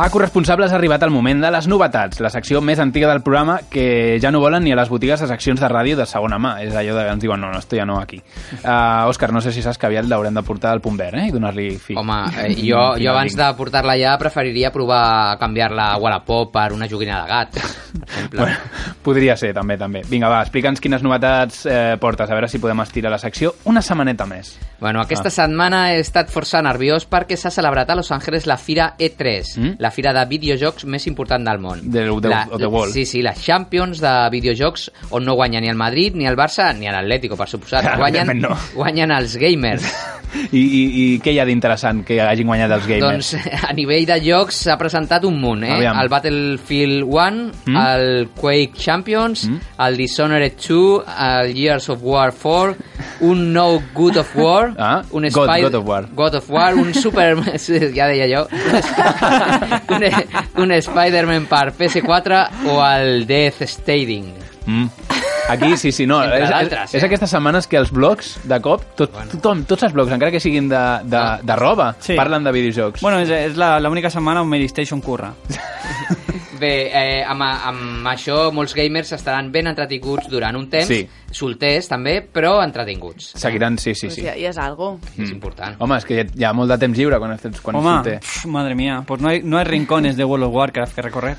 A Corresponsables ha arribat el moment de les novetats, la secció més antiga del programa que ja no volen ni a les botigues de seccions de ràdio de segona mà. És allò de que ens diuen, no, no, esto ja no aquí. Uh, Òscar, no sé si saps que aviat l'haurem de portar al punt verd, eh? I donar-li fi. Home, eh, jo, jo abans de portar-la ja preferiria provar a canviar-la a Wallapop per una joguina de gat, per exemple. Bueno, podria ser, també, també. Vinga, va, explica'ns quines novetats eh, portes, a veure si podem estirar la secció una setmaneta més. Bueno, aquesta Ah. setmana he estat força nerviós perquè s'ha celebrat a Los Angeles la Fira E3, Mm. la fira de videojocs més important del món. Del- del- of the world. Sí, sí, la Champions de videojocs on no guanya ni el Madrid, ni el Barça, ni l'Atlético, per suposat. Clar, guanyen, òbviament no. guanyen els gamers. I, i, i què hi ha d'interessant que hagin guanyat els gamers? doncs a nivell de jocs s'ha presentat un munt, eh? Aviam. El Battlefield 1, Mm. el Quake Champions, Mm. el Dishonored 2, el Years of War 4, un nou God of War, Ah, un God- Spy- God of War. God of War, un Super... sí, ja deia jo. un, e- un Spider-Man per PS4 o el Death Stading. Mm. Aquí, sí, sí, no. Entre és, d'altres, és, és eh? aquestes setmanes que els blogs, de cop, tot, tothom, tots els blogs, encara que siguin de, de, de roba, Sí. parlen de videojocs. Bueno, és, és la- l'única setmana on Medistation curra. Bé, eh, amb, amb això molts gamers estaran ben entretinguts durant un temps, Sí. solters també, però entretinguts. Seguiran, sí, sí, Pues sí. ja, ja és algo. És important. Mm. Home, és que hi ha, hi ha molt de temps lliure quan, estets- quan Home, surte. pf, madre mía, pues no hay, no hay rincones de World of Warcraft que recorrer.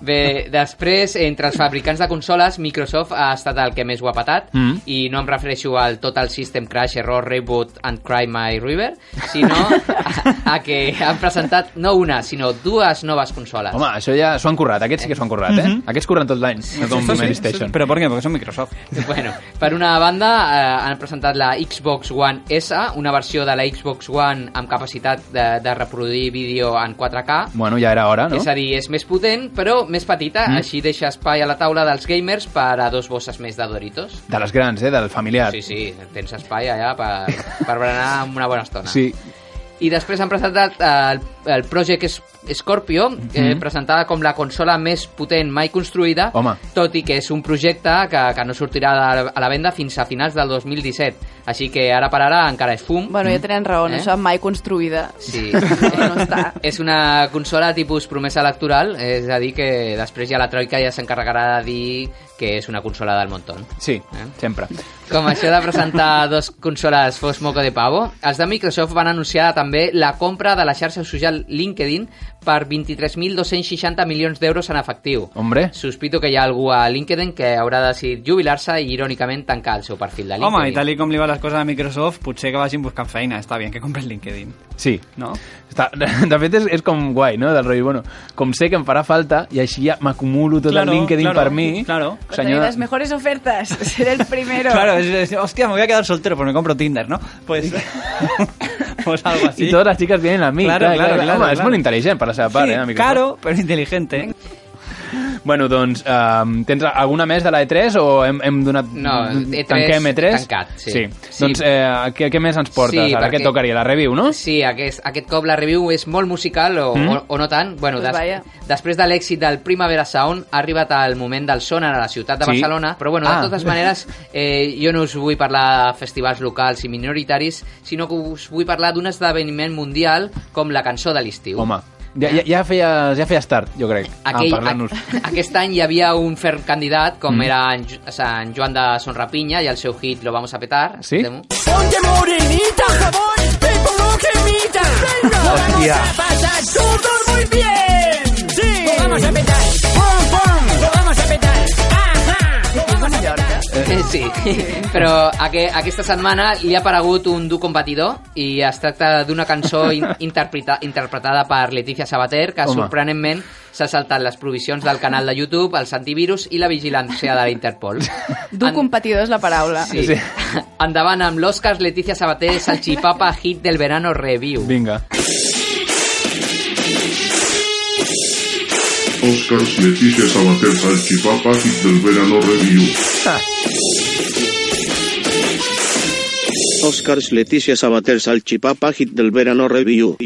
Bé, després, entre els fabricants de consoles, Microsoft ha estat el que més ho ha patat, Mm. i no em refereixo al Total System Crash, Error, Reboot and Cry My River, sinó a, a que han presentat no una, sinó dues noves consoles. Home, això ja s'ho han currat, aquests sí que s'ho han currat, eh? Mhm. Aquests curren tot l'any, no com Esto sí, PlayStation. Pero ¿por qué? Porque son Microsoft. Bueno, per una banda, eh, han presentat la Xbox One S, una versió de la Xbox One amb capacitat de, de reproduir vídeo en 4K, Bueno, ja era hora, no? És a dir, és més potent, però més petita, Mm. així deixa espai a la taula dels gamers per a dos bosses més de Doritos. De les grans, eh? Del familiar. Sí, sí, tens espai allà per, per berenar una bona estona. Sí, I després han presentat eh, el, el Project Es- Scorpio, eh, presentada com la consola més potent mai construïda, Home. tot i que és un projecte que, que no sortirà a la, a la venda fins a finals del 2017. Així que ara per ara encara és fum. Bueno, ja tenen raó, Eh? eh? això mai construïda. Sí. No, no està. És una consola tipus promesa electoral, és a dir, que després ja la Troika ja s'encarregarà de dir que és una consola del montón. sí, Eh? sempre. Com això de presentar dos consoles fos moco de pavo, els de Microsoft van anunciar també la compra de la xarxa social LinkedIn per 23.260 milions d'euros en efectiu. Hombre, Sospito que hi ha algú a LinkedIn que haurà decidit jubilar-se i irònicament tancar el seu perfil de LinkedIn. Home, y tal y como le van las cosas a Microsoft, potser que vagin buscant feina. Está bien que compren LinkedIn, sí. no? Està, de fet, és, és com guai, no? Del rotllo, bueno, com sé que em farà falta i així ja m'acumulo tot Claro, el LinkedIn claro, per mi. claro. Pues tenir les mejores ofertas, ser el primero. Claro, es, es- hostia, me voy a quedar soltero, pues me compro Tinder, ¿no? Pues, pues algo así. i totes les xiques vienen a mi. Claro, clar, clar, claro, clar, claro, Home, és claro. molt intel·ligent per la seva part, Sí, eh? amic? caro, pero inteligente. Bueno, doncs, um, tens alguna més de la E3 o hem, hem donat... No, E3 tanquem E3? tancat, sí. sí. Sí. Doncs eh, què, què més ens portes? Sí, Ara perquè- què tocaria? La review, no? Sí, aquest, aquest cop la review és molt musical o, Mm. mm. o, o no tant. Bueno, Pues vaya. després de l'èxit del Primavera Sound ha arribat el moment del sonar a la ciutat de Sí. Barcelona. Però bueno, Ah. de totes maneres, eh, jo no us vull parlar de festivals locals i minoritaris, sinó que us vull parlar d'un esdeveniment mundial com la cançó de l'estiu. Home, Ah, ja, ja, ja, feies, ja feies tard, jo crec, Aquell, a parlar-nos. a, aquest any hi havia un ferm candidat com mm. era en, Jo- Sant Joan de Sonrapinya i el seu hit Lo vamos a petar. Sí? escoltem-ho. Ponte morenita, favores, pepo no cremita. Venga, Hostia. vamos a pasar todo muy bien. Sí. Lo vamos a petar. Pum, pum. Lo vamos a petar. Ajá. Lo vamos a petar. Eh, Sí, però aqu aquesta setmana li ha aparegut un dur competidor i es tracta d'una cançó in interpreta interpretada per Letícia Sabater que Home. sorprenentment s'ha saltat les provisions del canal de YouTube, els antivirus i la vigilància de la Interpol. Du competidor és la paraula. Sí. Sí. Endavant amb l'Òscar Letícia Sabater Salchipapa Hit del Verano Review. Vinga. Oscars Leticia Sabater Salchipapa y del Verano Review. Oscars Leticia Sabater Salchipapa Hit del Verano Review.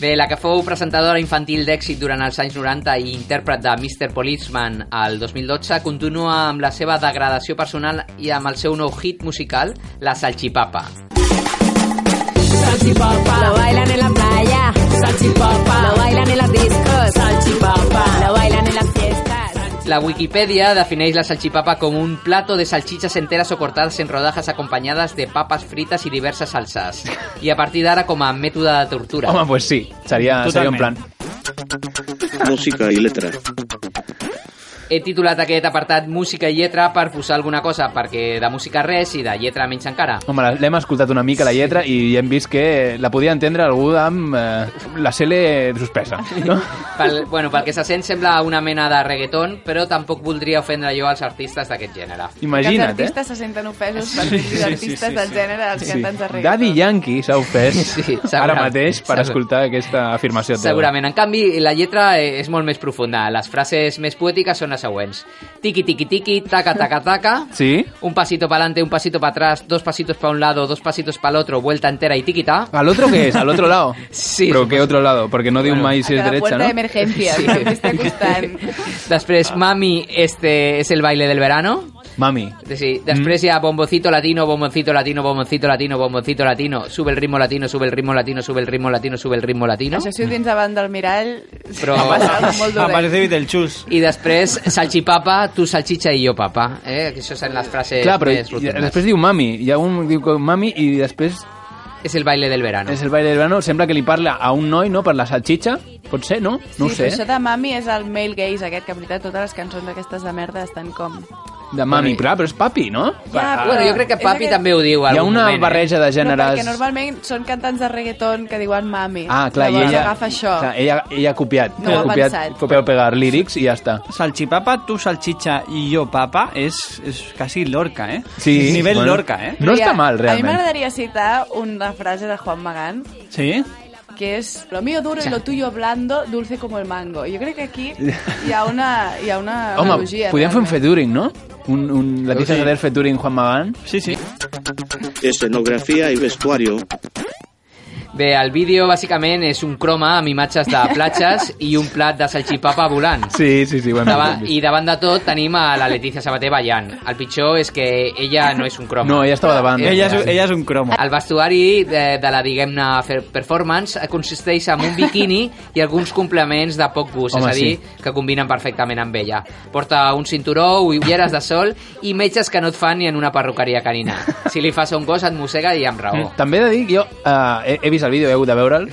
Bé, la que fou presentadora infantil d'èxit durant els anys 90 i intèrpret de Mr. Policeman al 2012 continua amb la seva degradació personal i amb el seu nou hit musical, La Salchipapa. Salchipapa. Lo bailan en la playa. Salchipapa. La Wikipedia defineix la salchipapa com un plato de salchichas enteras o cortadas en rodajas acompañadas de papas fritas y diversas salsas. Y a partir d'ara com a mètode de tortura. Home, pues sí, seria, seria un plan. Totalment. Música y letra. He titulat aquest apartat Música i lletra per posar alguna cosa, perquè de música res i de lletra menys encara. Home, la- l'hem escoltat una mica, la lletra, i hem vist que la podia entendre algú amb eh, la cele suspesa, no? Pel, bueno, pel que se sent sembla una mena de reggaeton, però tampoc voldria ofendre jo als artistes d'aquest gènere. que els Imagina't, eh? artistes se senten ofesos per dir sí, artistes del gènere dels cantants de reggaeton. Daddy Yankee s'ha ofès Sí, ara segurament. mateix per Segurament. escoltar aquesta afirmació teva. Segurament. En canvi, la lletra eh, és molt més profunda. Les frases més poètiques són les següents. Tiki, tiki, tiki, taca, taca, taca. Sí? Un pasito para adelante, un pasito para atrás, dos pasitos para un lado, dos pasitos para el otro, vuelta entera y tiquita. ¿Al otro qué es? ¿Al otro lado? Sí, ¿Pero por qué otro lado? Porque no digo Bueno, maíz si a es cada derecha, puerta ¿no? de emergencia, Sí. que està costant. Després, mami, este es el baile del verano. Mami. Sí, després Mm. hi ha bombocito latino, bomboncito latino, bomboncito latino, bomboncito latino, sube el ritmo latino, sube el ritmo latino, sube el ritmo latino, sube el ritmo latino. Això si ho tens davant del mirall, Però- Però... ha passat molt dolent. Aparece Vitelchus. I després, salchipapa, tu salchicha i jo papa. Eh? Que això són les frases Clar, però més i- i- rotundes. després diu mami, hi ha un diu que mami i després És el baile del verano. és el baile del verano, sembla que li parla a un noi, no?, per la salchicha, pot ser, no? No ho sí, però sé. això de Mami és el male gaze aquest, que en veritat totes les cançons aquestes de merda estan com... De mami, clar, però és papi, no? Ja, Ah, Bueno, jo crec que És Papi aquest- també ho diu. en Hi ha algun una moment, eh? barreja de No, gèneres... perquè normalment són cantants de reggaeton que diuen Mami. Ah, clar, i Llavors ella... agafa això. Clar, ella, ella ha copiat. No ho ha ha copiat, pensat. copiar o pegar lírics i ja està. Salchipapa, tú salchicha y yo papa es, es casi Lorca, ¿eh? Sí. Nivel bueno. Lorca, ¿eh? No està mal, A mi realment. m'agradaria citar una frase de Juan Magán, Sí. que és lo mío duro y lo tuyo blando, dulce como el mango. Jo crec que aquí hi ha una, hi ha una Home, analogia. podem fer un realment. featuring, no? Un, un, la pista de featuring Juan Magán. Sí, sí. Escenografía y vestuario. Bé, el vídeo bàsicament és un croma amb imatges de platges i un plat de salchipapa volant. Sí, sí, sí, bueno. Davant, I davant de tot tenim a la Letícia Sabater ballant. El pitjor és que ella no és un croma. No, ella estava davant. Ella es, ella es un cromo. El vestuari de, de la, diguem-ne, fer- performance consisteix en un biquini i alguns complements de poc gust, Home, és a dir, que combinen perfectament amb ella. Porta un cinturó, ulleres de sol i metges que no et fan ni en una perruqueria canina. Si li fas a un gos et mossega i amb raó. També he de dir que jo eh, he, he vist el vídeo, he hagut de veure'l.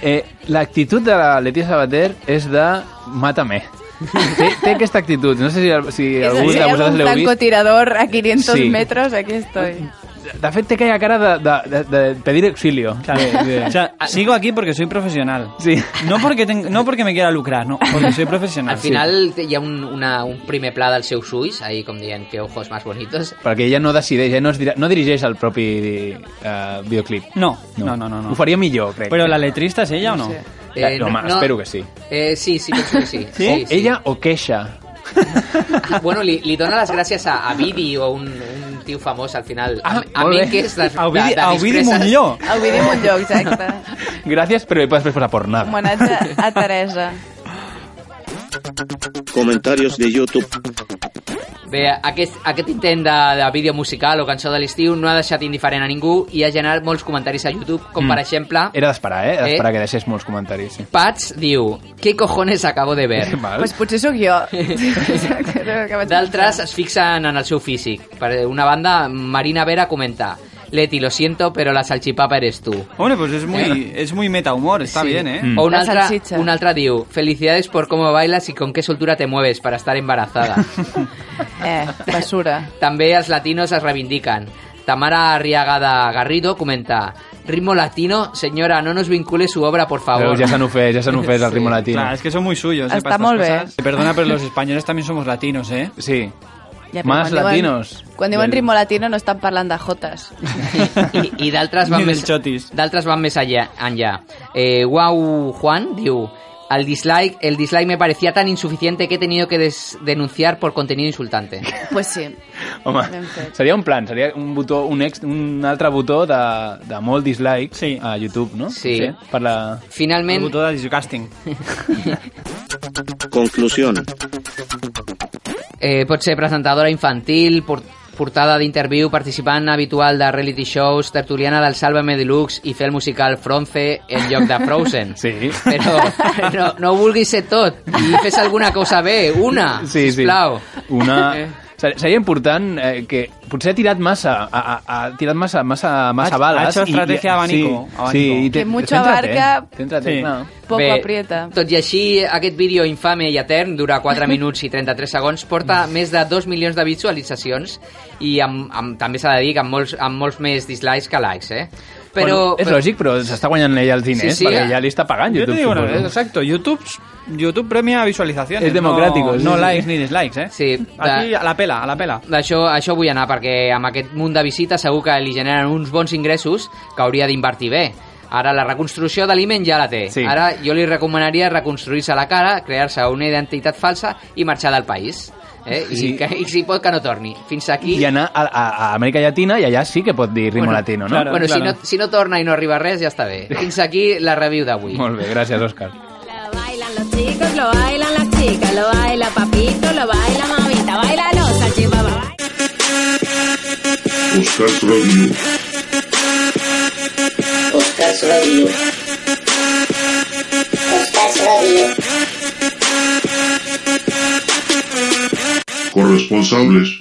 Eh, L'actitud de la Letícia Sabater és de mata-me. Té, té aquesta actitud. No sé si, si És, algú de si hi ha vosaltres un l'heu vist. francotirador a 500 Sí. metros, aquí estoy. De fet, té aquella cara de, de, de, de pedir Eh, auxilio. Claro. O sea, sigo aquí porque soy profesional. Sí. No porque, tengo- no porque me quiera lucrar, no, porque soy profesional. Al final hi ha un, una, un primer pla dels seus ulls, ahí com dient que ojos más bonitos. Perquè ella no decideix, ella no, es, dir- no dirigeix el propi eh, videoclip. No, no, no, no. no. Ho faria millor, crec. Pero la letrista es ella o no? Eh, home, espero que sí. Eh, sí, sí, penso que sí. Sí? Ella o queixa. Ah, Bueno, li, li dona les gràcies a, a Vidi o un, un tio famós al final. A, Ah, a molt bé. mi que és de, de, A Ovidi, de a Ovidi disfresses. Montlló. Ovidi Montlló, exacte. Gràcies, però després posa por nada. Homenatge a Teresa. Comentarios de YouTube. Bé, aquest, aquest intent de, de vídeo musical o cançó de l'estiu no ha deixat indiferent a ningú i ha generat molts comentaris a YouTube, com per exemple... Era d'esperar, eh? Era d'esperar Eh? que deixés molts comentaris. Sí. Pats diu, ¿qué cojones acabo de ver? Val. Pues potser sóc jo. Que vaig D'altres es fixen en el seu físic. Per una banda, Marina Vera comenta Leti, lo siento, pero la salchipapa eres tú. Hombre, pues es muy, es muy metahumor, está bien, ¿eh? Mm, O un La altra, salchicha. un altra diu Felicidades por cómo bailas y con qué soltura te mueves para estar embarazada. pensar. Eh, basura. També els latinos es reivindican. Tamara Arriagada Garrido comenta Ritmo latino, señora, no nos vincule su obra, por Veus, favor. ja s'han ofès, ja s'han ofès el ritmo latino. Claro, es que son muy suyos. ¿eh? Está para estas muy bien. cosas. Perdona, pero los españoles también somos latinos, ¿eh? Sí. Ja, però Más quan latinos. Diuen, quan diuen Del- ritmo latino no estan parlant de jotes. I, i d'altres van, Ni dels més, xotis. d'altres van més allà, enllà. Eh, Guau Juan diu... El dislike, el dislike me parecía tan insuficiente que he tenido que des- denunciar por contenido insultante. Pues sí. Home, Ben fet. seria un plan, seria un botó, un, ex, un altre botó de, de molt dislike Sí. a YouTube, no? Sí. Per la... Finalment, Algo todo de casting. Conclusión. eh, pot ser presentadora infantil, por- Portada d'interviu, participant habitual de reality shows, tertuliana del Sálvame Deluxe i fer el musical Fronce en lloc de Frozen. Sí. Però no, no ho vulguis ser tot i fes alguna cosa bé, una, sí, sisplau. Sí. Eh. Una... Ser- Seria important eh, que potser ha tirat massa, ha, ha- ha tirat massa, massa, massa Ha- balas. ha hecho estrategia abanico, Sí, abanico. sí, Que mucho abarca. Céntrate, Sí. claro. Poco aprieta. Tot i així, aquest vídeo infame i etern dura 4 minuts i 33 segons, porta més de 2 milions de visualitzacions i amb, amb, també s'ha de dir que amb molts, amb molts més dislikes que likes, eh? Però, Bueno, és lògic, però s'està guanyant ella els diners, Sí, sí. perquè ja li està pagant Yo Ah, YouTube. te digo una suposo. cosa, exacto. YouTube, YouTube premia visualizaciones. Es democrático, No, sí, no sí. likes ni dislikes, ¿eh? Sí, Aquí va. a la pela, a la pela. D'això això vull anar, perquè amb aquest munt de visites segur que li generen uns bons ingressos que hauria d'invertir bé. Ara, la reconstrucció d'aliment ja la té. Sí. Ara, jo li recomanaria reconstruir-se la cara, crear-se una identitat falsa i marxar del país. Eh? I, si, Sí. que, I si pot que no torni. Fins aquí... I anar a, a, a Amèrica Llatina i allà sí que pot dir ritmo latino, no? claro. bueno si, no, si no torna i no arriba res, ja està bé. Fins aquí la review d'avui. Molt bé, gràcies, Òscar. Lo bailan los chicos, lo bailan las chicas, lo baila papito, lo baila mamita, baila los salchipapa. Oscar Review. Oscars Radio. Oscars Radio. Corresponsables.